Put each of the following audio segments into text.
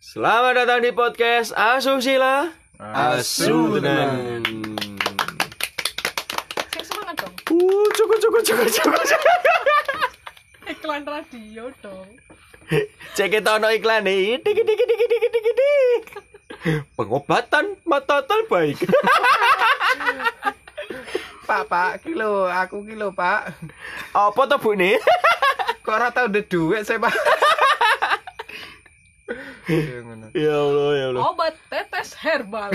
Selamat datang di podcast Asusila Asunan. Sing semangat dong. Uh, cukup cukup cukup cukup. Iklan radio dong. Cek kita ono iklan nih. Dik dik dik dik dik dik dik. Pengobatan mata terbaik. Pak, Pak, kilo, aku kilo, Pak. Apa tuh Bu nih? Kok ora tau ndek dhuwit saya, Pak. Ya, ngono. ya Allah ya Allah. Obat tetes herbal.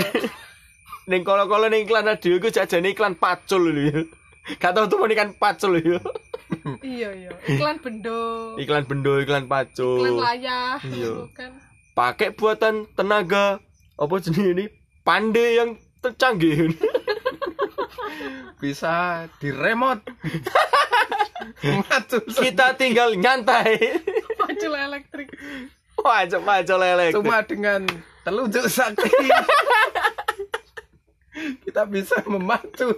Ning kala-kala ning iklan radio iku jajane iklan pacul lho. ya. Gak tau tuh ikan pacul lho. ya. iya iya. Iklan bendo. Iklan bendo, iklan Iklan pacul. layah. Iya. Itu Kan. Pakai buatan tenaga apa jenis ini? Pandai yang tercanggih. Bisa diremot. Macul. kita tinggal nyantai. Pacul elektrik. Wajah macul lele. Cuma dengan telunjuk sakti. Kita bisa memacu.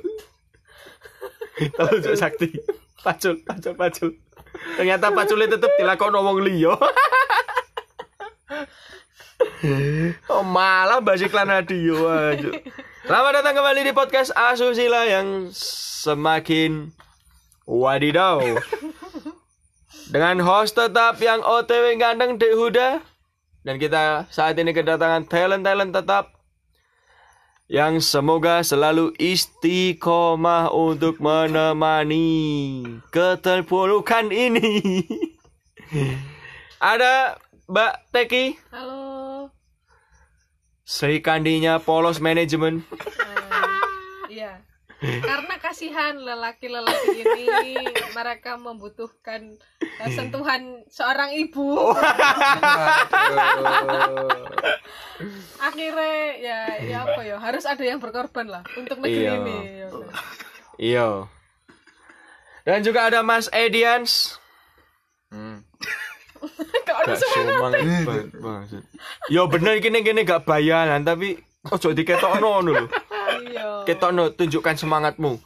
telunjuk sakti. Pacul, pacul, pacul. Ternyata paculnya tetep dilakon wong liya. oh malah bahas iklan radio aja. Selamat datang kembali di podcast Asusila yang semakin wadidau. Dengan host tetap yang OTW gandeng Dek Huda dan kita saat ini kedatangan talent-talent tetap yang semoga selalu istiqomah untuk menemani keterpurukan ini. Ada Mbak Teki, Halo. Sri Kandinya Polos Manajemen. Eh, Iya. Karena kasihan lelaki-lelaki ini mereka membutuhkan eh, Hmm. sentuhan seorang Oh. ibu. Akhirnya ya ya apa ya harus ada yang berkorban lah untuk negeri Iya. ini. Ya kan? Iyo. Iya. Dan juga ada Mas Edians. Kok ada semua? Yo bener gini gini gak bayaran tapi ojo diketokno ngono lho. Iya. ketokno tunjukkan semangatmu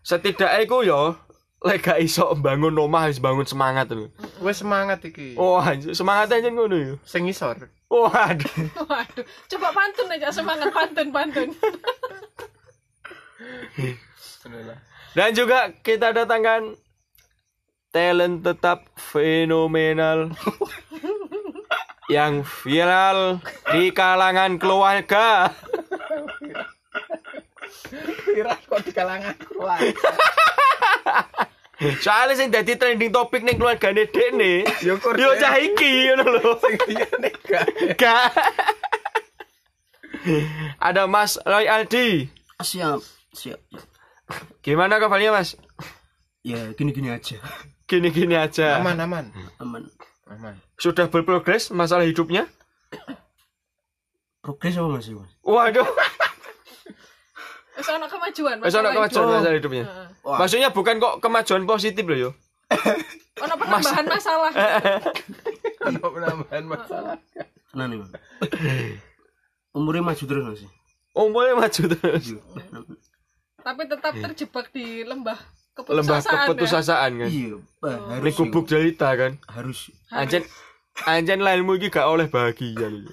setidaknya iku yo lek gak iso bangun omah harus bangun semangat lho Wes semangat iki. oh anjir semangatnya aja ngono ya. yo Sing isor. oh aduh Waduh, coba pantun aja semangat pantun pantun. dan juga kita datangkan talent tetap fenomenal yang viral di kalangan keluarga Kira kok di kalangan keluarga. soalnya sing jadi trending topik nih keluargane dek nih Yo kur. yo cah iki ngono lho Iya, gak. Gak. Ada Mas Roy Aldi. siap siap Gimana kabarnya Mas? ya gini-gini aja Gini-gini aja. Aman, aman. aman Aman. Sudah berprogres masalah hidupnya? progres apa masih mas Waduh, Wis ono kemajuan. Mas ono masalah kemajuan hidup. masalah hidupnya. Heeh. Wah. Maksudnya bukan kok kemajuan positif loh yo. Ono penambahan masalah. Ono penambahan masalah. tenang nih mas umurnya maju terus masih Umurnya Oh, maju terus. Iya. Tapi tetap terjebak di lembah Iya. keputusasaan. ya. Lembah keputusan. keputusasaan kan. iya Pak, Ini harus gubuk yuk. jelita kan. harus Anjen anjen lainmu iki gak oleh bahagia lho.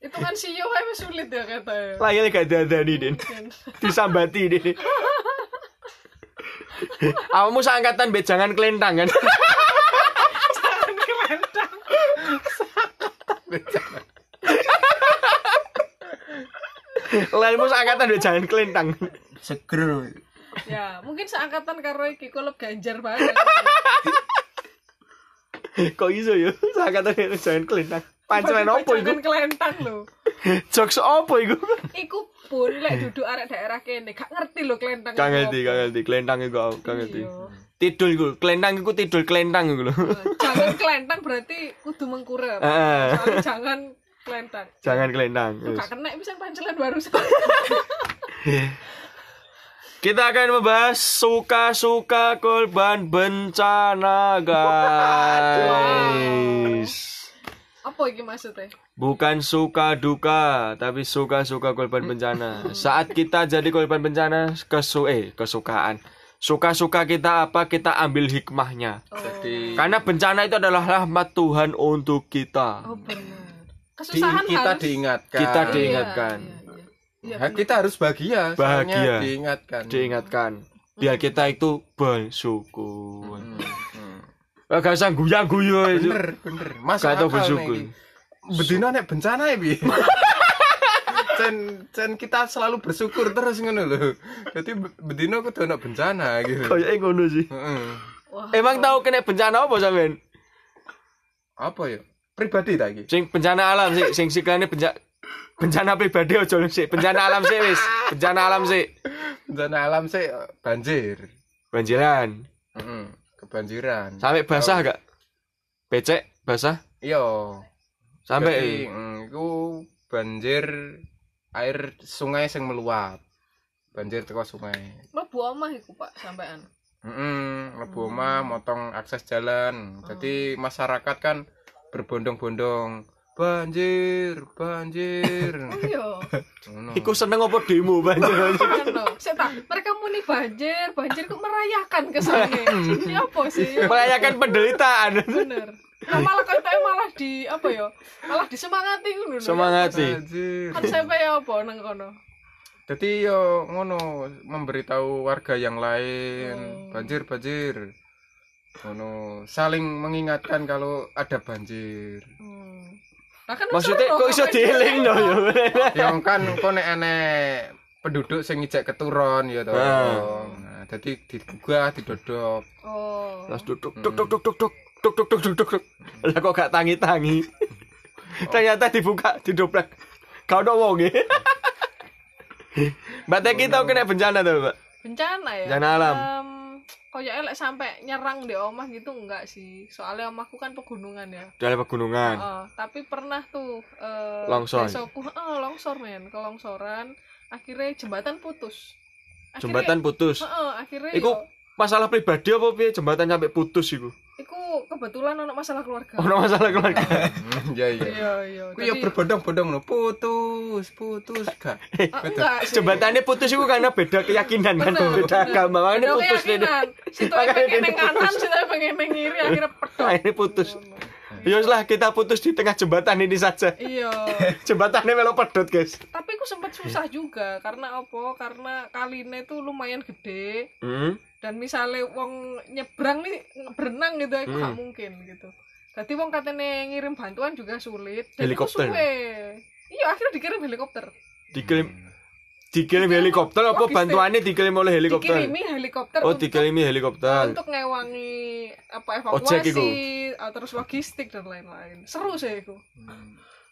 Itu kan CEO kan wis sulit ya katanya. Layane gak dadani Din. Disambati Din. Awakmu seangkatan be jangan kelentang kan. Lainmu seangkatan udah jangan kelintang. seger Mas. ya, mungkin seangkatan karo iki kolop ganjar banget. Kok iso ya? Seangkatan udah jangan kelintang. Pancen opo iku? Jangan kelentang lho. Jokes opo iku? Iku pun lek duduk arek daerah kene gak ngerti lho kelentang. Gak apa. ngerti, gak ngerti. Kelintang iku aku gak ngerti. Iya. Tidul iku, kelintang iku tidul kelintang iku lho. Eh, Jangan kelentang berarti kudu mengkurep. Heeh. Soalnya jangan kelentang. ah. Jangan kelintang. Gak kena bisa pancelan barusan. Kita akan membahas suka-suka korban bencana, guys. Apa iki maksudnya? Bukan suka duka, tapi suka-suka korban bencana. Saat kita jadi korban bencana, kesu eh kesukaan. Suka-suka kita apa kita ambil hikmahnya. Oh. Jadi- Karena bencana itu adalah rahmat Tuhan untuk kita. Oh benar. Di, Kesusahan kita harus diingatkan. Kita Iya, diingatkan. iya, iya. Iya, Nah, kita harus bahagia. soalnya Bahagia. Diingatkan. Diingatkan. Biar kita itu bersyukur. Hmm, hmm. Eh, Gak usah guyang-guyu itu. Bener, bener. Mas Gak tau akal nih. bersyukur. Bedino nek bencana ya, Bi. Cen, cen kita selalu bersyukur terus ngono lho. Dadi be- bedino kudu ono bencana gitu. Kayaknya ngono sih. Heeh. Wah, Emang tahu kena bencana apa sampean? Apa ya? Pribadi ta iki? Sing bencana alam sih, sing siklane benca bencana pribadi aja sih. Bencana alam sih wis. Bencana alam sih. Bencana alam sih eh, banjir. Banjiran. Heeh. Kebanjiran. Sampai basah gak? Becek basah Iya. Jadi, sampai mm, iku banjir air sungai sing meluap. Banjir teko sungai. mlebu omah iku, Pak, sampean. Heeh, mlebu omah, Hmm. motong akses jalan. Jadi masyarakat kan berbondong-bondong banjir, banjir. Oh iya. Ngono. Iku seneng apa demo banjir? Kan lho. Sik tak, mereka muni banjir, banjir kok merayakan kesane. Hmm. Ini apa sih? Merayakan penderitaan. bener. Nah, malah kok entek malah di apa ya? Malah disemangati ngono lho. Semangat sih. banjir. Kan sampe ya apa nang kono? Jadi yo ngono memberitahu warga yang Hmm. lain banjir, banjir. Ngono saling mengingatkan kalau ada banjir. Hmm. Nah, kan Maksudnya seru kok loh, iso apa yang dieling no ya. yang kan kone enek penduduk sing ngijak keturun ya to. Nah. Nah, dadi digugah, didodok. Oh. Terus duduk duk duk duk duk duk duk duk duk duk duk duk. Lah kok gak tangi-tangi. Ternyata dibuka didoblek. Gak ono wong e. Mbak Teki tau kena bencana tuh, Mbak. Bencana ya. Bencana alam. Em, koyoknya lek sampai nyerang di omah gitu enggak sih. Soalnya omahku kan pegunungan ya. Dari pegunungan. Heeh, tapi pernah tuh eh Kan. Longsor. desoku, heeh, longsor men, kelongsoran, akhirnya jembatan putus. Jembatan putus. Heeh, akhirnya Iku yo- masalah pribadi apa piye jembatan sampai putus iku? iku kebetulan ono masalah keluarga. Ono masalah keluarga. Hmm, Iya iya. Iya, iya. Ku yo Jadi- berbondong-bondong ngono, putus, putus gak. Ah, enggak sih. Jembatannya putus iku karena beda keyakinan kan, Bener, beda bener. agama. Makanya Beda putus ini. keyakinan. Situ Makanya pengen ini neng kanan, situ pengen neng kiri, akhirnya pedot. Ini putus. Ya wis lah kita putus di tengah jembatan ini saja. Iya. Jembatannya melo pedot, guys. Tapi aku sempat susah juga karena apa? Karena kaline itu lumayan gede. Hmm. dan misalnya wong nyebrang nih berenang gitu aku Hmm. gak mungkin gitu Tadi wong katanya ngirim bantuan juga sulit Dan iku Helikopter. suwe. iya akhirnya dikirim helikopter Dikirim dikirim helikopter apa Logistik. bantuannya dikirim oleh helikopter? dikirimi helikopter Oh, untuk, dikirimi helikopter. untuk ngewangi apa Ojek iku. evakuasi ah, terus logistik dan lain-lain seru sih itu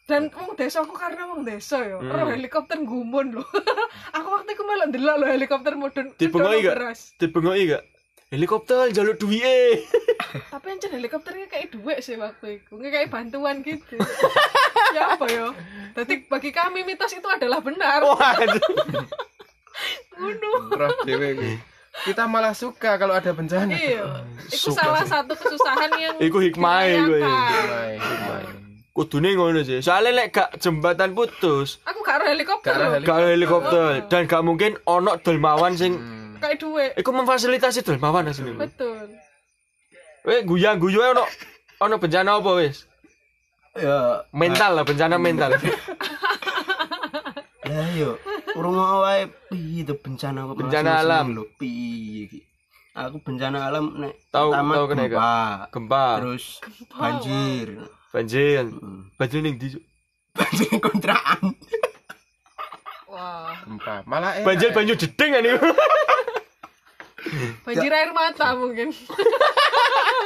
dan wong desa aku karena wong desa ya Hmm. roh helikopter gumun loh aku waktu itu malah ndelok loh helikopter modern Dibengoki gak? beras Dibengoki gak? Helikopter jaluk duwe. tapi ancen helikopternya kayak duit sih waktu itu nggak kayak bantuan gitu ya apa ya jadi bagi kami mitos itu adalah benar Wah. bunuh Roh dhewe ku. Kita malah suka kalau ada bencana. iya itu Suka salah satu kesusahan yang Iku hikmahnya iku, iya. dibayangkan. Main, main. Kudune ngono sih. Soalnya lek gak jembatan putus, aku gak ada helikopter Gak ada loh. helikopter. gak ada helikopter dan gak mungkin ono dermawan sing Hmm. kayak duit Iku memfasilitasi dermawan asline. betul Weh guyang guyu ono ono bencana apa wis? Ya, Mental lah bencana mental. lah yo. Urung wae piye to bencana kok malah Bencana seneng-seneng alam. lho piye iki. Aku bencana alam nek Tahu- pertama tahu kena gempa, Gempa, terus banjir. banjir, Hmm. banjir ning ndi? Cuk? Banjir kontrakan. wah Gempa. Malah eh, enak. Banjir banjir jeding kan iku. banjir air mata mungkin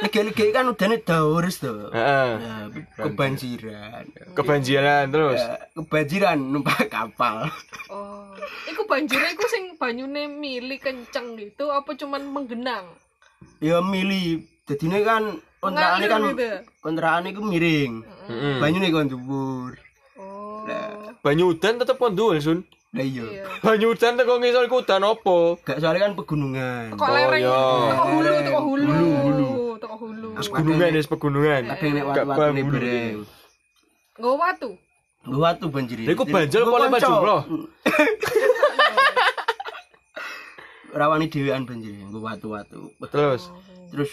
Liga-liga kan udane daurus to. Heeh. Nah, kebanjiran. Kebanjiran terus. Ya, kebanjiran numpak kapal. oh iku banjirnya iku sing banyune mili kenceng gitu apa cuman menggenang Ya milih. Dadine kan kontrakan Ngalir kan gitu. kontrakan iku miring. Heeh. Banyune kon dhuwur. oh Banyu udan tetep kon duwe, Sun. Lah iya. iya Banyu udan teko ngisor iku udan apa? Gak soalnya kan pegunungan. Kok lereng? Oh, iya. Toko hulu, toko hulu. Toko hulu. Pegunungan wis pegunungan. Kadang nek Gak watu-watune paham bereng. Nggo watu. Gua tuh banjir. Lha iku banjir apa oleh Pak Jumroh? rawani dhewean banjir nggo watu-watu. Terus Terus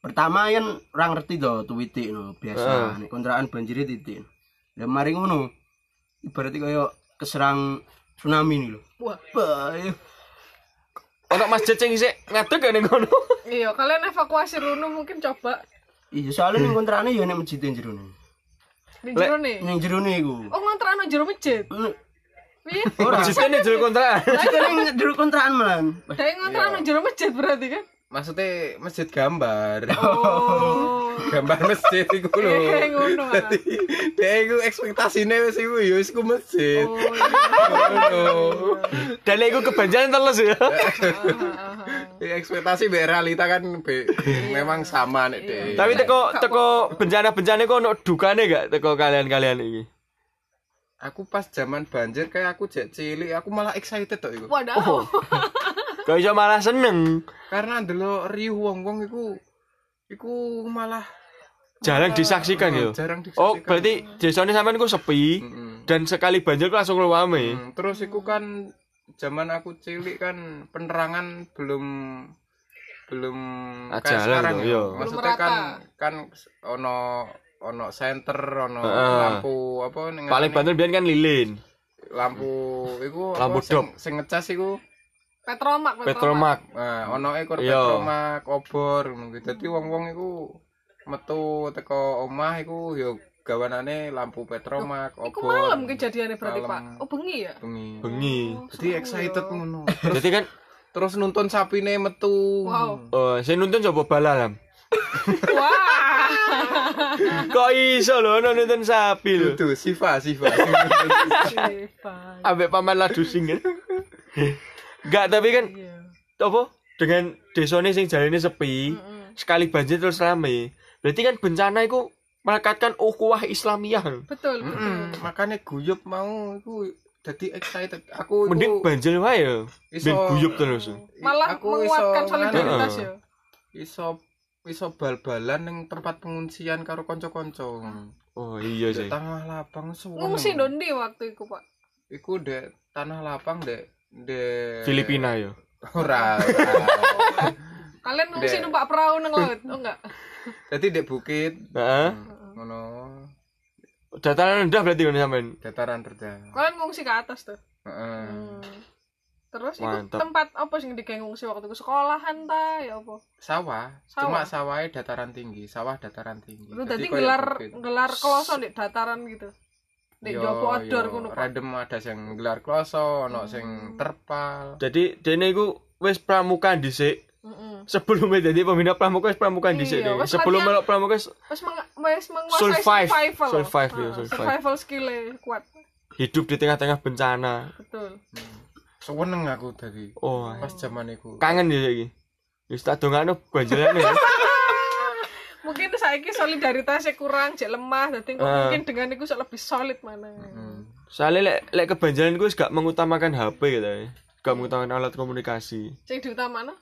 pertama yen ora ngerti to tuwitik Ah. no biasa nek kontrakan banjire titik. Lah mari ngono. Ibaratnya kaya keserang tsunami nih lho. Wah, Bae. ono masjid sing isih ngadeg ya ning kono. iya kalian evakuasi runuh mungkin coba Iya soalnya ning kontrakan ya nek masjid jero ne. di jero nih. Ning jero ne iku. Oh ngontrakno jero masjid. Piye? Oh, Ora. Masjid ning jero kontrakan. Masjid ning jero kontrakan malan. Dai ngontrakno anu jero masjid berarti kan. Maksudnya masjid gambar. Oh. gambar masjid iku lho. Eh, ngono, ah. Dadi dhek iku ekspektasine wis iku ya wis ku masjid. Oh, iya. Ngono. Dan iku kebanjaran terus ya. Ah, ah, ah. Ya, ekspektasi mbek realita kan be, Iya. memang sama nek dhek. Tapi teko teko bencana-bencana iku ono dukane gak teko kalian-kalian iki? aku pas zaman banjir kayak aku jek cilik aku malah excited tok iku. Oh. Waduh. Kok iso malah seneng. Karena ndelok riuh wong-wong iku iku malah Jarang disaksikan ya. jarang disaksikan. Oh, berarti desane sampean ku sepi Mm-mm. dan sekali banjir ku langsung luwame. Hmm, terus iku kan zaman aku cilik kan penerangan belum belum Ah, kayak jalan sekarang gitu, ya. iya. Maksudnya Belum kan rata. kan ono ono center ono Heeh. lampu apa ning- Paling banter biyen kan lilin, lampu iku apa, Lampu sing, dop. sing ngecas iku Petromak, Petromak. petromak. eh ono e kur Iya. petromak obor ngono kuwi. Dadi wong-wong iku metu teko omah iku ya gawanane lampu petromak Iku obor. malam kejadiannya berarti, Oh. Pak. Malam. Oh, bengi ya? bengi. Bengi. Jadi excited ngono. Jadi kan terus nuntun sapine metu Wow. eh saya nonton coba balalam. Wah. Kok iso lho ono nonton sapi lho. itu Siva Siva Cepat. Ambek paman ladu sing. Enggak, tapi kan Iya. apa dengan desone sing jalane sepi, Mm-mm. sekali banjir terus rame. Berarti kan bencana itu melekatkan ukhuwah Islamiyah. Betul, betul. Mm, makanya guyup mau aku jadi excited aku Mending iku banjir wae ya. Ben Iso- guyub terus. Malah Aku iso menguatkan nganu. solidaritas ya. iso iso bal-balan ning tempat pengungsian karo kanca-kanca Oh iya Dek sih. tanah lapang suwe Ngungsi dondi waktu itu, Pak. iku dek tanah lapang dek dek Filipina ya. ora ora. Kalian ngungsi Dek. numpak perahu nang laut, oh enggak? jadi dek bukit Heeh. ngono Dataran rendah berarti ngono sampean. dataran rendah Kalian ngungsi ke atas tuh. Heeh. Hmm. Terus itu Mantap. tempat apa sih yang digawe ngungsi waktu itu? Sekolahan ta ya apa? sawah Sawah. cuma sawahnya dataran tinggi sawah dataran tinggi Lu Jadi tadi kayak gelar bukit. gelar kloso di dataran gitu. Di Yo, jopo outdoor yo, ngono, Pak. Hmm. random ada sing gelar kloso ono sing terpal Jadi dene iku wis pramuka dhisik. Heeh. Sebelum jadi pembina pramuka wis pramuka dhisik Iya, deh. wis Sebelum latihan- melok pramuka wis Wes meng wes menguasai Survive. survival. Survive, iya, Ah, survive. survival skill-e kuat. hidup di tengah-tengah bencana. Betul. seneng aku dari Oh, pas zaman iku kangen ya iki. Wis tak dongakno banjirane. ya. Mungkin saiki solidaritasnya kurang, jek lemah, dadi Ah. mungkin dengan iku sok lebih solid mana. Soalnya lek lek kebanjaran gue gak mengutamakan HP gitu ya. Gak mengutamakan alat komunikasi. Sing diutamana.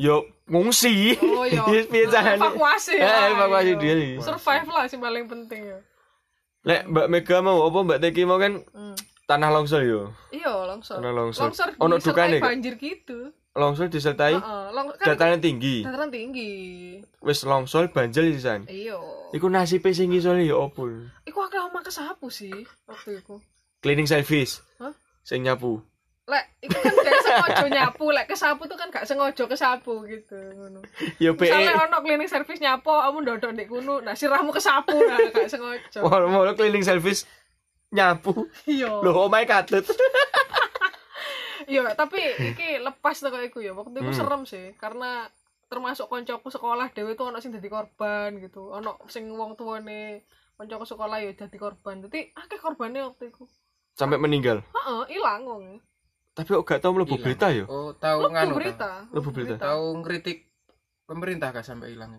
Yo ngungsi. Oh yo. Yes, piye carane? Evakuasi. Eh, lah, evakuasi iya. diri. Survive lah sih paling penting ya. Lek Mbak Mega mau apa Mbak Teki mau kan Hmm. tanah longsor yo. Iya, longsor. Ono longsor. Ono Ono dukane, dukane Kak? banjir gitu. Longsor disertai Heeh, long- kan dataran tinggi. dataran tinggi. Wis longsor banjir sisan. Iya. Iku nasibe sing isone yo opo. Iku akeh omah kesapu sih waktu iku. Cleaning service. Hah? Sing nyapu. Lek iku kan gak sengaja nyapu, lek kesapu tuh kan gak sengaja kesapu gitu ngono. Yo E. Misalnya PE. ono klinik servis nyapu, kamu ndodok ndek kuno, nah sirahmu kesapu nah gak sengaja. Mau cleaning service nyapu. Iya. Loh, omahe katut. Iya, tapi iki lepas teko iku ya. Waktu Hmm. iku serem sih karena termasuk koncoku sekolah dhewe tuh ono sing dadi korban gitu. Ono sing wong tuane koncoku sekolah ya dadi korban. Dadi akeh korbane waktu iku. Sampai meninggal. Heeh, ilang wong. Tapi kok gak tau mlebu Ilang. berita ya? yo. oh tahu Lebu nganu berita. berita. Lebu berita. tahu ngritik pemerintah gak sampai hilang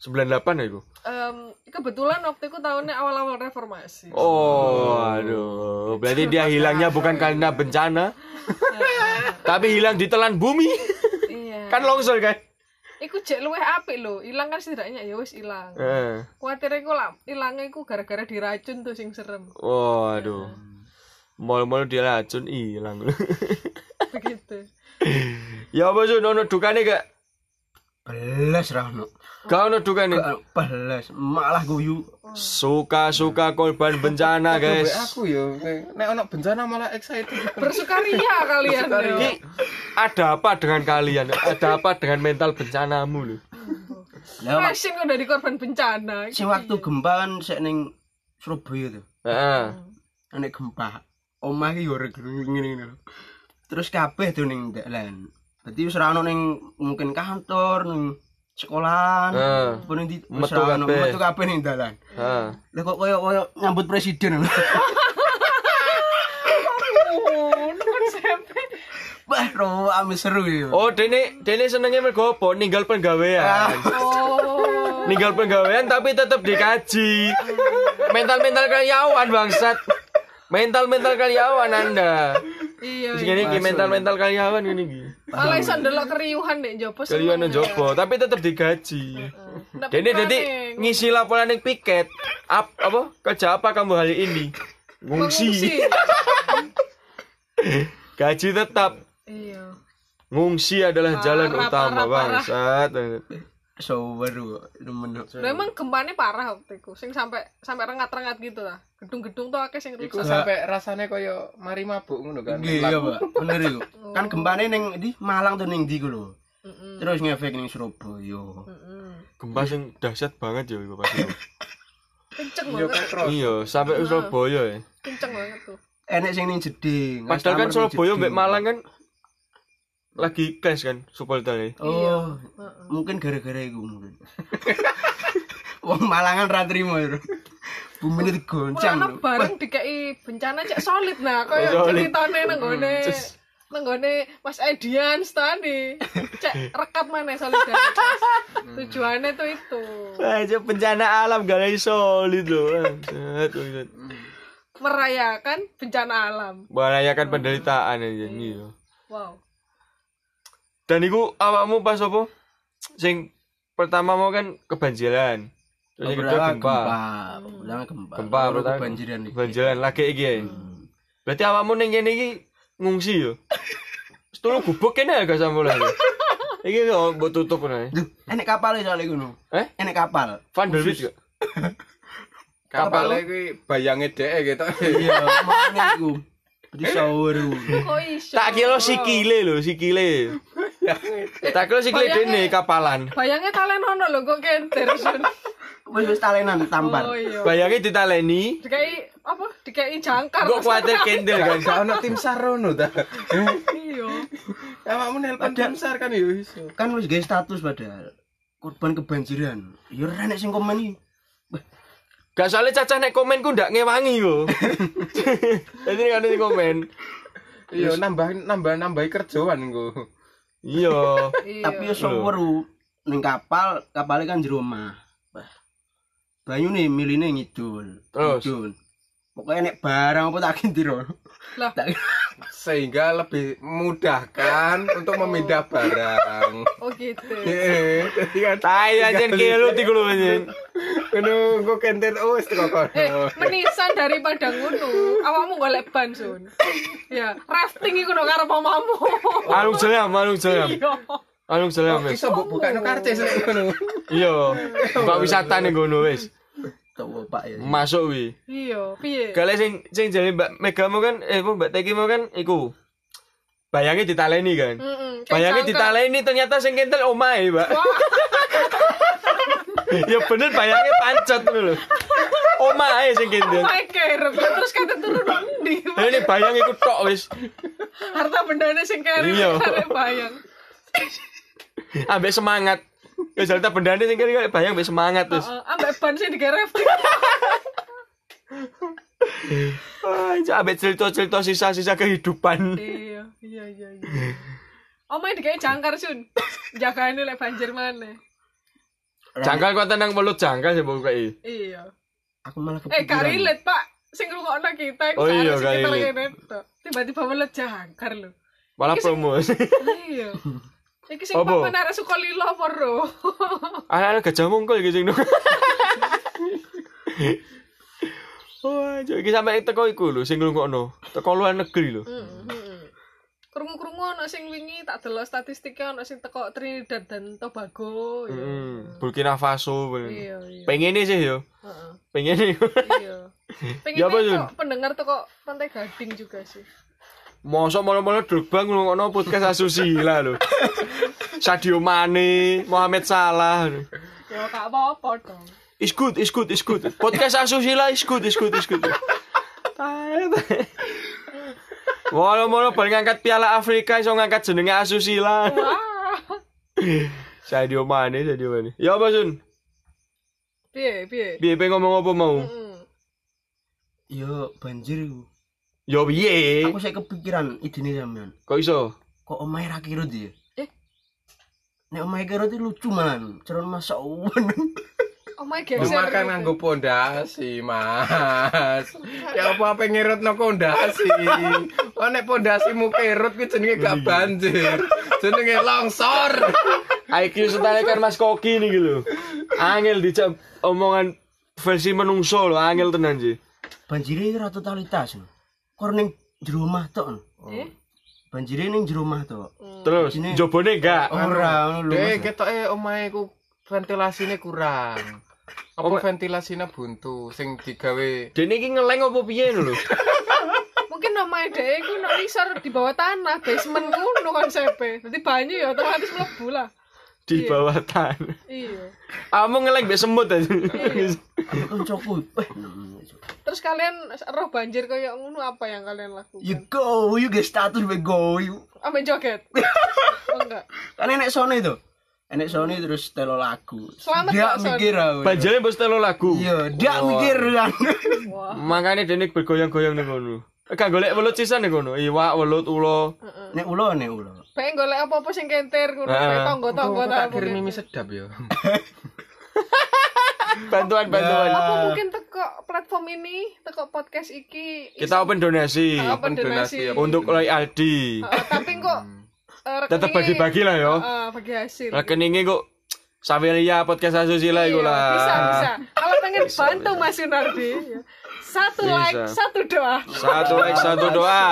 98 ya iku. Em, kebetulan waktu itu tahunnya awal-awal reformasi. Oh, aduh. Berarti dia hilangnya bukan karena bencana. tapi hilang ditelan bumi. Iya. Kan longsor kan? Iku jek luweh apik lho, ilang kan setidaknya ya wis ilang. Eh. Kuwatir iku lah ilange iku gara-gara diracun tuh sing serem. Oh, aduh. Mall-mall dia racun hilang. begitu Ya apa sih ono dukane gak? belas rahno Gak ono dukane. belas malah guyu Suka-suka korban bencana, Guys. guys. aku yo. Nek ono bencana malah excited. bersukaria kalian Ini ya. ada apa dengan kalian? Ada apa dengan mental bencanamu lu? lah Passion kok dari korban bencana si waktu gempa kan sek ning Surabaya tuh Heeh. nek gempa omah ki yo reg- ngene ngene lho. terus kabeh tuh ning dalan berarti wis ra ono ning mungkin kantor ning sekolahan Heeh. apa ning di wis Metu ra ono kabeh. metu kabeh ning dalan Heeh. lha kok koyo koyo nyambut presiden lho. Oh, konsepnya wah ro ame seru yo Oh, Dene, Dene senengnya mergo apa? Ninggal Ah. penggawean. oh Ninggal penggawean tapi tetap dikaji. Mental-mental karyawan bangsat. Mental-mental karyawan Anda. iya Wis iya. ngene iki mental-mental karyawan ngene iki. malah iso ndelok Oh. keriuhan nek jopo Karyawan nang jopo tapi tetap dikaji. Dene jadi ngisi laporan yang piket. Ap, apa? Kerja apa kamu hari ini? Ngungsi. ngungsi Gaji tetap. iya Ngungsi adalah jalan Parah, utama, parah, parah. bangsat. so baru temen Lah Eh. emang gempanya parah waktu itu sing sampai sampai rengat-rengat gitu lah gedung-gedung tuh akeh sing Iku rusak sampe rasane koyo mari mabuk ngono kan. Hmm. Iya, Pak. Bener iku. Kan gempane ning di Malang tuh ning ndi ku lho. Terus ngefek ning Surabaya. Heeh. Gempa sing dahsyat banget ya iku pasti. kenceng Yo banget Petro. Iya, sampai Surabaya ya. kenceng banget tuh Enek sing ning Jeding. Padahal kan Customer ning Surabaya Jeding. mbek Malang kan lagi clash kan supporternya. Oh, mungkin gara-gara iku mungkin. Wong Malangan ra trimo. Bro. Bumine digoncang. Mulane lho. bareng dikei bencana cek solid nah, koyo Solid. ceritane nang gone Cus. nang gone Mas Edian tadi. Cek rekat mana solidaritas. Tujuannya tuh itu. Aja bencana alam gak lagi solid loh. Bangsat, bangsat. Merayakan bencana alam. Merayakan penderitaan aja iya. Wow. Dan iku awakmu pas apa? Sing pertama mau kan kebanjiran. Terus yang kedua Berapa gempa. gempa? Ulang gempa. Gempa Loro pertama. kebanjiran iki. Hmm. Kebanjiran lagi iki. ya. Berarti awakmu ning kene iki ngungsi yo. Setulu gubuk kene ya gak sampe lagi. Iki kok mbok tutup ora. Duh, enek kapal ya soalnya ngono. Eh? Enek kapal. Van der Wijk gak? Kapale kuwi bayange dhek gitu. Iya, mana iku? Di sawur. Kok iso? Tak kira sikile lho, sikile. tak kira sikile dene kapalan. Bayangnya talen ono lho kok kenter. Sun. Wis wis talenan Oh tampar. iya. Bayangi ditaleni, Dikei apa? Dikei jangkar. kok kuatir kendel kan. Gak ono tim sar ngono ta. Iya. Awakmu nelpon tim sar kan yo iso. Kan wis gawe status padahal korban kebanjiran. Ya ora nek sing komen iki. Gak soalnya cacah nek komen ku ndak ngewangi yo. Jadi kan di komen. Yo nambah nambah nambahi kerjaan engko. Iya. Iya. Tapi yo seweru ning kapal, kapale kan jero omah. Wah. Banyune miline ngidul. Terus? Ngidul. Pokoknya nek barang apa tak kintiro. Lah. Tak Sehingga lebih mudahkan untuk memindah barang. Oh gitu. Heeh, jadi kan Tai anjen kilu tiku lu anjen. Aduh, kok kenter wis kok Eh, kono. menisan daripada ngono. Awakmu golek ban, Sun. Ya, rafting iku no karo mamamu. Alung selam, alung selam. Iya. Alung selam wis. Iso mbok bukakno karcis lek ngono. Iya. Mbak wisata ning ngono wis. tahu Pak ya. Masuk wi. Iya, piye? Kalau sing sing jare Mbak Mega mau kan eh apa, Mbak Teki mau kan iku. Bayangi ditaleni kan. Heeh. Bayangin ditaleni ternyata sing kentel omahe, Mbak. ya bener bayangin pancet ngono lho. Omahe sing kentel. Oh terus kata turun nang ndi? Lah ini bayang iku tok wis. Harta bendane sing kere Iya. kare bayang. Ambek semangat. Ya jalta bendane sing kene kok bayang ambek semangat wis. Heeh, ambek ban sing digere rafting. Ah, itu ambek cerita-cerita sisa-sisa kehidupan. Iya, iya, iya, iya. Omae digawe jangkar, Sun. Jagane lek banjir maneh. Jangkal kok tenang mulut jangkal sih mbok kei. Iya. Aku malah Eh, gak kepikiran. relate, Pak. Sing ngrungokno kita iku Oh iya, seharusnya gak kita relate. relate, tok. Tiba-tiba melet jangkar lho. Malah promo. Iya. Iki sing Apa? papan arek Sukolilo apa ro? Anak-anak gajah mungkul iki sing. nung. Oh, Wah, jadi sampai teko iku lho sing ngrungokno. Teko luar negeri lho. Krungu-krungu iku ono sing wingi tak delok statistiknya ono sing teko Trinidad dan Tobago. ya. Hmm, Burkina Faso. bener. Iya, iya. Pengen ini sih yo. Heeh, Pengen ini. Iya. Ya apa, Pengen Yun? kok pendengar teko Pantai Gading juga sih. Mosok molo-molo Drogba ngrungokno podcast asusila lho. Sadio Mane, Mohamed Salah. lho. Ya gak apa-apa dong. Is good, is good, is good. Podcast asusila is good, is good, is good. Molo-molo bal ngangkat Piala Afrika iso ngangkat jenenge asusila. Wah. Sadio Mane, Sadio Mane. Ya apa Sun? Piye, piye? Piye pengen ngomong apa mau? Heeh. Yo banjir iku. Yo piye? Aku saya kepikiran idene sampean. Kok iso? Kok omahe ra kirut ya? Eh? Nek omahe kirut itu lucu man. Ceron masak uwen. Oh Lu my god. makan nganggo pondasi, Mas. Ya apa apa ngerutno pondasi. Oh nek pondasimu kerut kuwi jenenge gak banjir. Jenenge longsor. IQ setara kan Mas Koki nih gitu. Angel dicap omongan versi menungso lo, angel tenan sih. Banjire ra totalitas. no. Kor ning jero omah tok. no. Eh? Oh. Banjire ning jero omah tok. Terus Ini- jobone enggak. Ora ngono lho. Eh Mas. ketoke omahe ku ventilasine kurang. Apa ventilasine buntu sing digawe Dene iki ngeleng opo piye lho? Mungkin nama dhek iku nek isor di bawah tanah, basement ngono konsepe. Dadi banyu ya otomatis mlebu lah. Di bawah tanah. Iya. Kamu ngeleng mbek semut aja. Ambek kancaku. eh, Terus kalian roh banjir kayak ngono apa yang kalian lakukan? You go, you get status we go. You. Ambil joget. oh enggak. Kan enek sone to. Enek sone terus telo lagu. Selamat Dia ya, Son. mikir aku. Banjare mbok setel lagu. Iya, dia mikir kan. Wah. Makane dene bergoyang-goyang ning kono. Kak golek welut sisan ning kono. Iwak, welut, ulo. Nek ulo nek ulo. Pengen golek apa-apa sing kenter ngono, Ah. kayak tonggo-tonggo ta tak kirim mungkin. mimi sedap ya. Bantuan-bantuan. Apa mungkin teko platform ini, teko podcast iki Kita open donasi Iya, open donasi donasi. ya, untuk Loy Aldi. Heeh, tapi kok Hmm. eh, Tetep rekeningnya- bagi-bagi lah yo. Heeh, bagi hasil. Rekeningnya kok Savelia podcast asusila iku Iya, lah. Bisa, bisa. Kalau pengen bantu Mas Yunardi, ya. satu Bisa. like, satu doa. Satu like satu doa.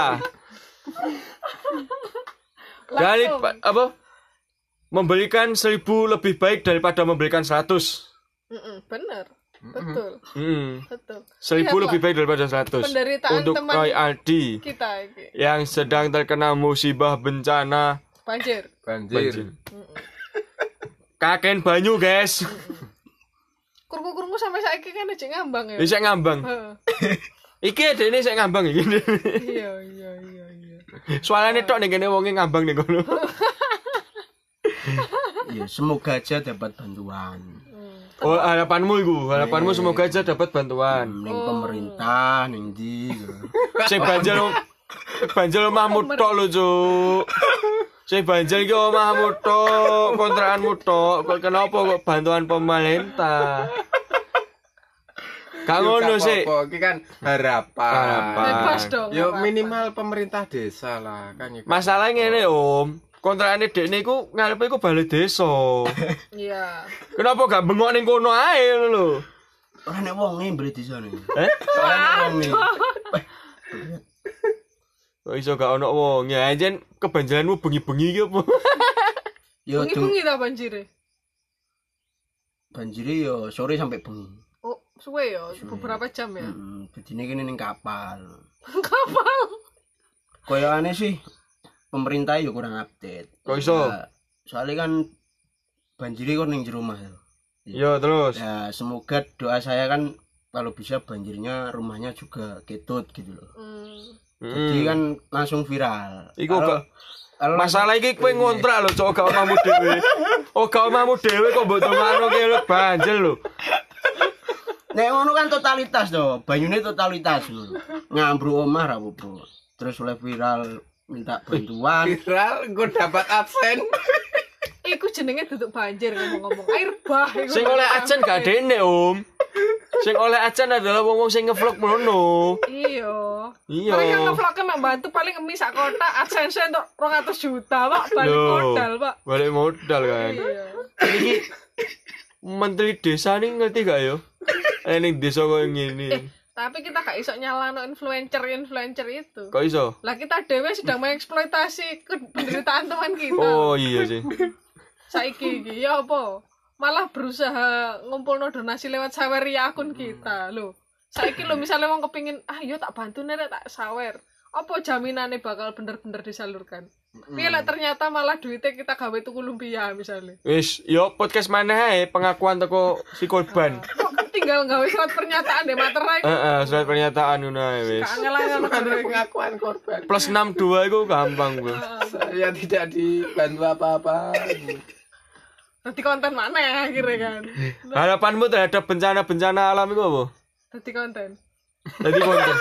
Dari Langsung. pa- apa? Memberikan seribu lebih baik daripada memberikan seratus. Mm-mm, bener. Betul, Hmm, betul. seribu Lihatlah lebih baik daripada seratus. Iya, Penderitaan Untuk teman- Roy Aldi Kita iki yang sedang terkena musibah bencana banjir. banjir. Banjir. Kaken banyu guys, Kurku-kurku sampai saiki kan aja ngambang ya. ini saya ngambang. Heeh. Iki ada ini saya ngambang iki. Iya, iya, iya, iya. Soalnya tok nih kene wonge ngambang nih kono. Iya, semoga aja dapat bantuan. Oh harapanmu iku, harapanmu semoga aja dapat bantuan. Ning Oh. pemerintah, ning di. Sing banjir banjir omahmu tok lho, Cuk. Sing banjir iki omahmu tok, kontrakanmu tok. Kok kenapa kok bantuan pemerintah? Gak ngono sih. Apa-apa, Iki kan harapan. Harapan. Bebas dong. Yo apa-apa. minimal pemerintah desa lah kan ya. Masalahnya ngene, Om. Kontrakane dekne iku ngarepe iku balai desa. Iya. Kenapa gak bengok ning kono ae ngono lho? Ora nek wong e mbeli di sana. Eh? Ora nek wong e. Kok Oh, iso gak ono wong? Ya anjen kebanjaranmu bengi-bengi iki apa? Yo dung Bengi-bengi ta banjire? banjire yo sore sampai bengi. Oh, suwe ya, beberapa jam ya. Heeh, bedine kene ning kapal. Kapal. Koyo aneh sih. Pemerintah yo kurang update. Kok iso? Ya, Soalnya kan banjire kok ning jero rumah. Yo terus. Ya, semoga doa saya kan kalau bisa banjirnya rumahnya juga ketut gitu loh. Hmm. Jadi kan langsung viral. Iku Kalau- gak- kalau Masalah iki kowe ngontrak lho, cok gak omahmu dhewe. Oh, gak omahmu dhewe kok mbok dongakno ki lho banjel lho. Nek ngono kan totalitas to, banyune totalitas lho. Nyambru omah ra apa-apa. Terus oleh viral minta bantuan. viral gue dapat absen. Iku jenenge duduk banjir ngomong-ngomong. Air bah. iku. Sing oleh ajen gak dene, Om. Sing oleh ajen adalah wong-wong sing ngevlog mlono. Iya. Iya. Mereka ngevlog kan membantu paling ngemis sak kotak AdSense untuk 200 juta, Pak. Balik Lho, modal, Pak. Balik modal kan. Iya. Iki Menteri Desa nih ngerti gak yo? Eh ning desa kok ngene. Tapi kita gak iso nyalano influencer-influencer itu. Kok iso? Lah kita dewe sedang mengeksploitasi ke- penderitaan teman kita. Oh iya sih. Saiki iki ya apa? Malah berusaha ngumpulno donasi lewat saweria akun kita lho. Saiki lho misalnya wong kepingin ah yo tak bantu nih Rek, tak sawer. Apa jaminannya bakal bener-bener disalurkan? Piye lek ternyata malah duitnya kita gawe tuku lumpia misalnya. Wis, yo podcast mana ae pengakuan teko si korban. Kok tinggal gawe surat pernyataan deh materai. Heeh, surat pernyataan ngono ae wis. Kangelan-kangelan. Ada pengakuan korban. Plus 62 iku gampang, Bro. Saya tidak dibantu apa-apa. Nanti konten mana ya akhirnya kan? Harapanmu terhadap bencana-bencana alam iku apa? Nanti konten. Jadi konten.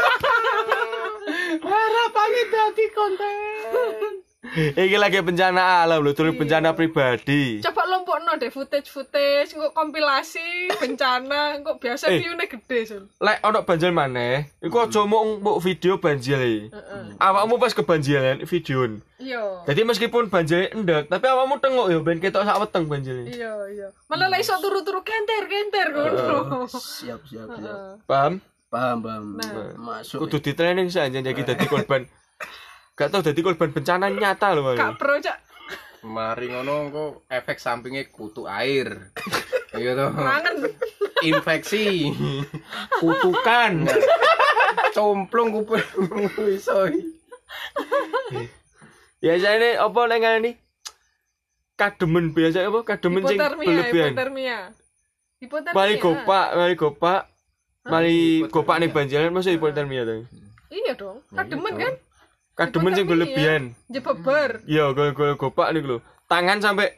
Harapannya jadi konten. Iki lagi bencana alam lho, dulu bencana pribadi. Coba lompokno deh footage-footage, engko kompilasi bencana, engko biasa Eh. view-ne gede, Sul. Lek ono banjir maneh, iku aja mung mbok video banjir. e. Awakmu pas kebanjiran videoin. Iya. Jadi meskipun banjir endek, tapi awakmu tengok yo ben ketok sak weteng banjir. Iya, iya. Malah lah iso turu-turu kenter-kenter ngono. siap siap siap Heeh. Paham? paham paham Nah. masuk Kudu di training saja jadi dadi korban. Gak tau dadi korban bencana nyata lho. Bang. Kak Pro cak Mari ngono kok efek sampingnya kutu air. Iya toh. kangen. Infeksi. Kutukan. Complong kuping iso. Biasanya apa nek ngene kademen biasa apa kademen sing Hipotermia, berlebihan. hipotermia. Hipotermia. Mari gopak, mari gopak. Mari gopak nih banjiran masuk hipotermia to. Iya dong. Kademen kan? Kademen sing Hipotermia. berlebihan. Jebeber. Iya, gol-gol gopak niku lho. Tangan sampai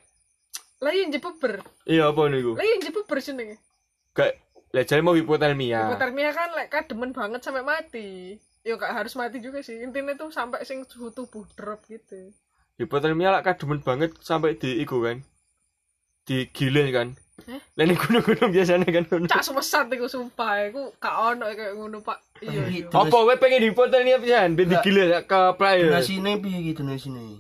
Lah iya jebeber. iya apa niku? Lah iya jebeber jenenge. Gak lah jane mau hipotermia. Hipotermia kan lek kademen banget sampai mati. Yo gak harus mati juga sih. Intinya tuh sampai sing suhu tubuh drop gitu. Hipotermia lah kademen banget sampai di iku kan. Digilin kan. Hah? Lah ning gunung-gunung biasanya kan ngono. Cak semesat iku sumpah, iku gak ono kayak ngono Pak. Iya. iya. Apa kowe pengen hipotermia pisan ben digilin ya, ke player. donasi ini piye gitu donasi ini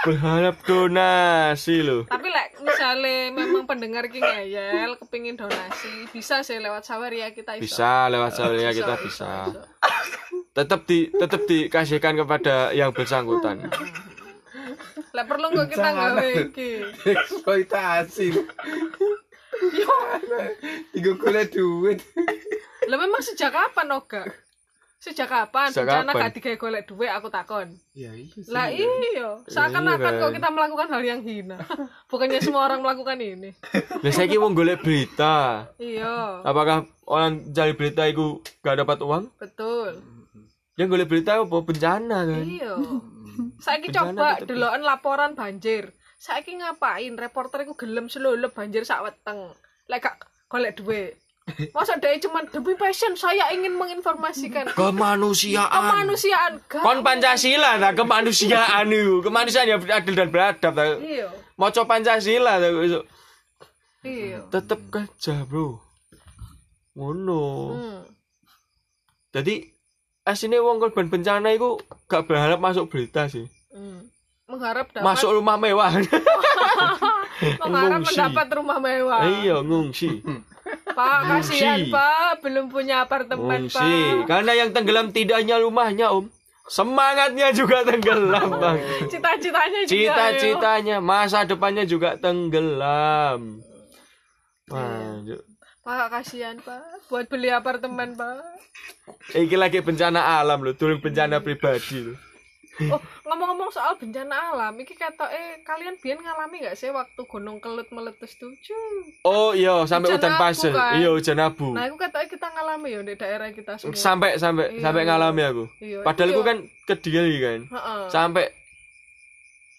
Berharap donasi lho. Tapi lek misalnya memang pendengar ki ngeyel kepingin donasi, bisa sih lewat Saweria kita iso. Bisa lewat salurannya kita bisa. tetap di tetap dikasihkan kepada yang bersangkutan Lek perlu nggak kita Bencana. gawe iki. Eksploitasi. Yo, Iku golek duit. lah memang sejak kapan Oga? Sejak kapan Sejak bencana kapan? gak digawe golek duit aku takon. Ya iya. Lah iya, seakan-akan Iya. kok kita melakukan hal yang hina. Bukannya semua orang melakukan ini. lah saya mau golek berita Iya, apakah orang cari berita itu gak dapat uang betul. dia golek berita apa bencana kan Iya. Saiki Bencana coba tetep. ya. deloken laporan banjir. Saiki ngapain reporter iku gelem selolep banjir sak weteng. Lek gak golek duit. Masa dia cuman demi passion saya ingin menginformasikan kemanusiaan kemanusiaan gak. kon pancasila nah kemanusiaan itu kemanusiaan yang adil dan beradab nah. Iya. moco pancasila nah. Iya. tetap kerja bro ngono Hmm. jadi aslinya wong korban bencana itu gak berharap masuk berita sih hmm. Mengharap dapat masuk rumah mewah mengharap ngungsi. mendapat rumah mewah. iya ngungsi Pak, kasihan Ngungsi. Pak, belum punya apartemen, Fungsi. Pak. Karena yang tenggelam tidak hanya rumahnya, Om. Semangatnya juga tenggelam, Bang. Cita-citanya juga. ya. ayo. Cita-citanya, masa depannya juga tenggelam. Wah, ju- Pak, kasihan, Pak. Buat beli apartemen, Pak. iki lagi bencana alam loh, turun bencana pribadi loh. Oh, ngomong-ngomong soal bencana alam, iki kata eh kalian biyen ngalami nggak sih waktu gunung kelut meletus tuh? Cuy. Oh iya, sampai Hujan hujan abu, pasir. kan? Iya, hujan abu. Nah, aku kata kita ngalami ya di daerah kita semua. Sampai sampai Iya, sampai iya. ngalami aku. Iya, Padahal itu aku ya. kan kediri kan. Heeh. Sampai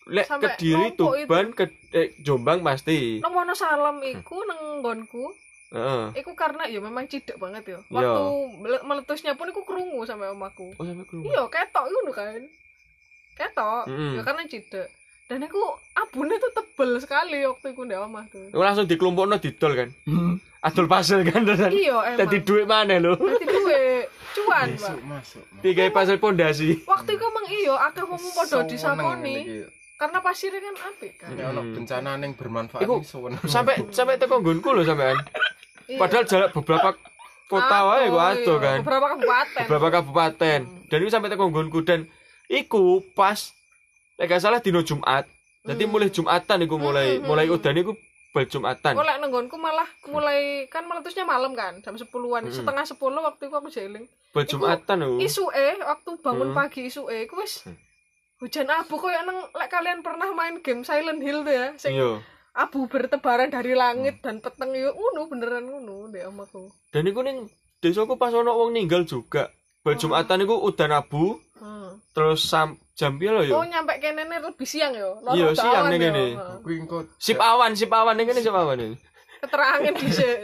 lek Sampai kediri numpuk itu. Tuban ke eh, Jombang pasti. Nang Wonosalam iku nang nggonku, Heeh. iku karena ya memang cidek banget Iya. ya. Waktu mele- meletusnya pun iku krungu sampai omaku. Oh, sampai keluar. Iya, ketok ngono kan. Ketok, Mm-mm. ya karena cidek. Dan aku abunnya tuh tebel sekali waktu iku ndek omah tuh. Aku langsung dikelompokno didol kan. Adol pasir kan terusan. Hmm. Iya, emang. Tadi duit mana lo? Dadi duwe cuan, Pak. Masuk. Tiga pasir pondasi. Waktu itu emang iya, akeh wong padha Seneng disakoni. iki. karena pasirnya kan apik kan Ya ono bencana ning bermanfaat Iku- ning seneng. Sampai sampai teko nggonku lho sampean. Iya. Padahal jarak beberapa kota wae Aduh, gua aja iya. kan. Beberapa kabupaten. Beberapa kabupaten. Hmm. Dan itu sampai teko nggonku dan iku pas nek gak salah dino Jumat. Jadi mulai Jumatan iku mulai Hmm, hmm, mulai hmm. udan iku bal Jumatan. Gue lek nenggonku malah mulai kan meletusnya malam kan jam Mm-mm. 10-an setengah 10 waktu itu aku jeling. Bal Jumatan oh. lho. Isuke waktu Mm. bangun pagi isuke ku wis hujan abu koyo neng lek kalian pernah main game Silent Hill tuh ya sing Iya. Mm. abu bertebaran dari langit dan peteng yo ngono beneran ngono ndek omahku. Dan iku ning desaku pas ono wong ninggal juga. Bal Jumatan iku udan abu Hmm. terus sam, jam piro yo? Oh nyampe kene nih lebih siang yo. Loro Iya, siang nih dalan yo. Hmm. kene. Heeh. Aku ingkut. Sip awan, sip awan ini kan sip awan ini. Keterangan dhisik.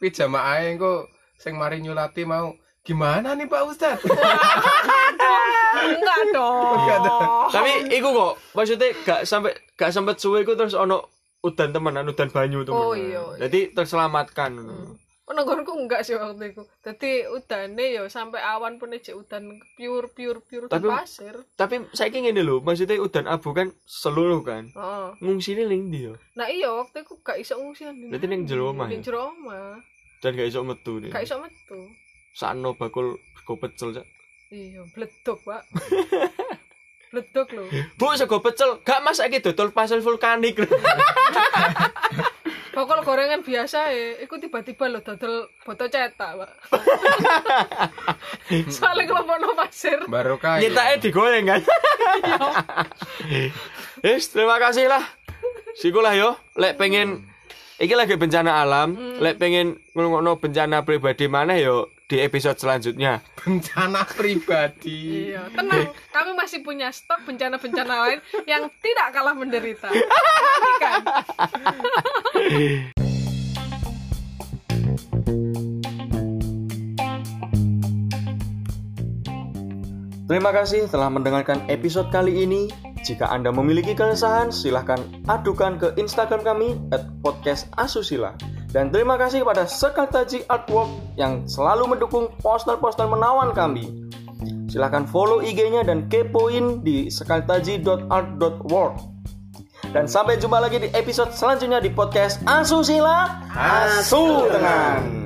Kuwi jamaah engko sing mari nyulati mau gimana nih Pak Ustaz? Enggak dong. Enggak Oh, dong. Tapi iya. iku kok maksudnya gak sampai gak sempet suwe iku terus ono udan temenan udan banyu tuh. Oh, iya, iya. Hmm. Jadi terselamatkan. Penenggonku enggak sih waktu itu. Jadi udane yo sampai awan pun aja udan pure pure pure di Tapi- pasir. Tapi saya ingin lho, maksudnya udan abu kan seluruh kan. Heeh. Ngungsi ini ning ya? dia. Nah iya waktu itu gak iso ngungsi nang Berarti ning jero omah Ning ya? jero omah. Dan gak iso metu nih. Gak iso metu. Sakno bakul sego pecel cak. Iya, bledok, Pak. bledok lho. Bu sego pecel gak mas saiki dodol pasel vulkanik. Bakul gorengan biasa ya, iku tiba-tiba lho dodol botol cetak, Pak. Soalnya kelompokno pasir. Barokah. ya. Iya. Nyetake digoreng kan. Wis, terima kasih lah. Siku lah yo, lek pengen iki lagi bencana alam, Hmm. lek pengen ngelungokno bencana pribadi mana yo di episode selanjutnya. bencana pribadi. Iya, tenang. Kami masih punya stok bencana-bencana lain yang tidak kalah menderita. Perhatikan. Terima kasih telah mendengarkan episode kali ini. Jika Anda memiliki keresahan, silahkan adukan ke Instagram kami at podcast asusila. Dan terima kasih kepada Sekartaji Artwork yang selalu mendukung poster-poster menawan kami. Silahkan follow IG-nya dan kepoin di sekartaji.art.work. Dan sampai jumpa lagi di episode selanjutnya di podcast Asusila Asu Tenang.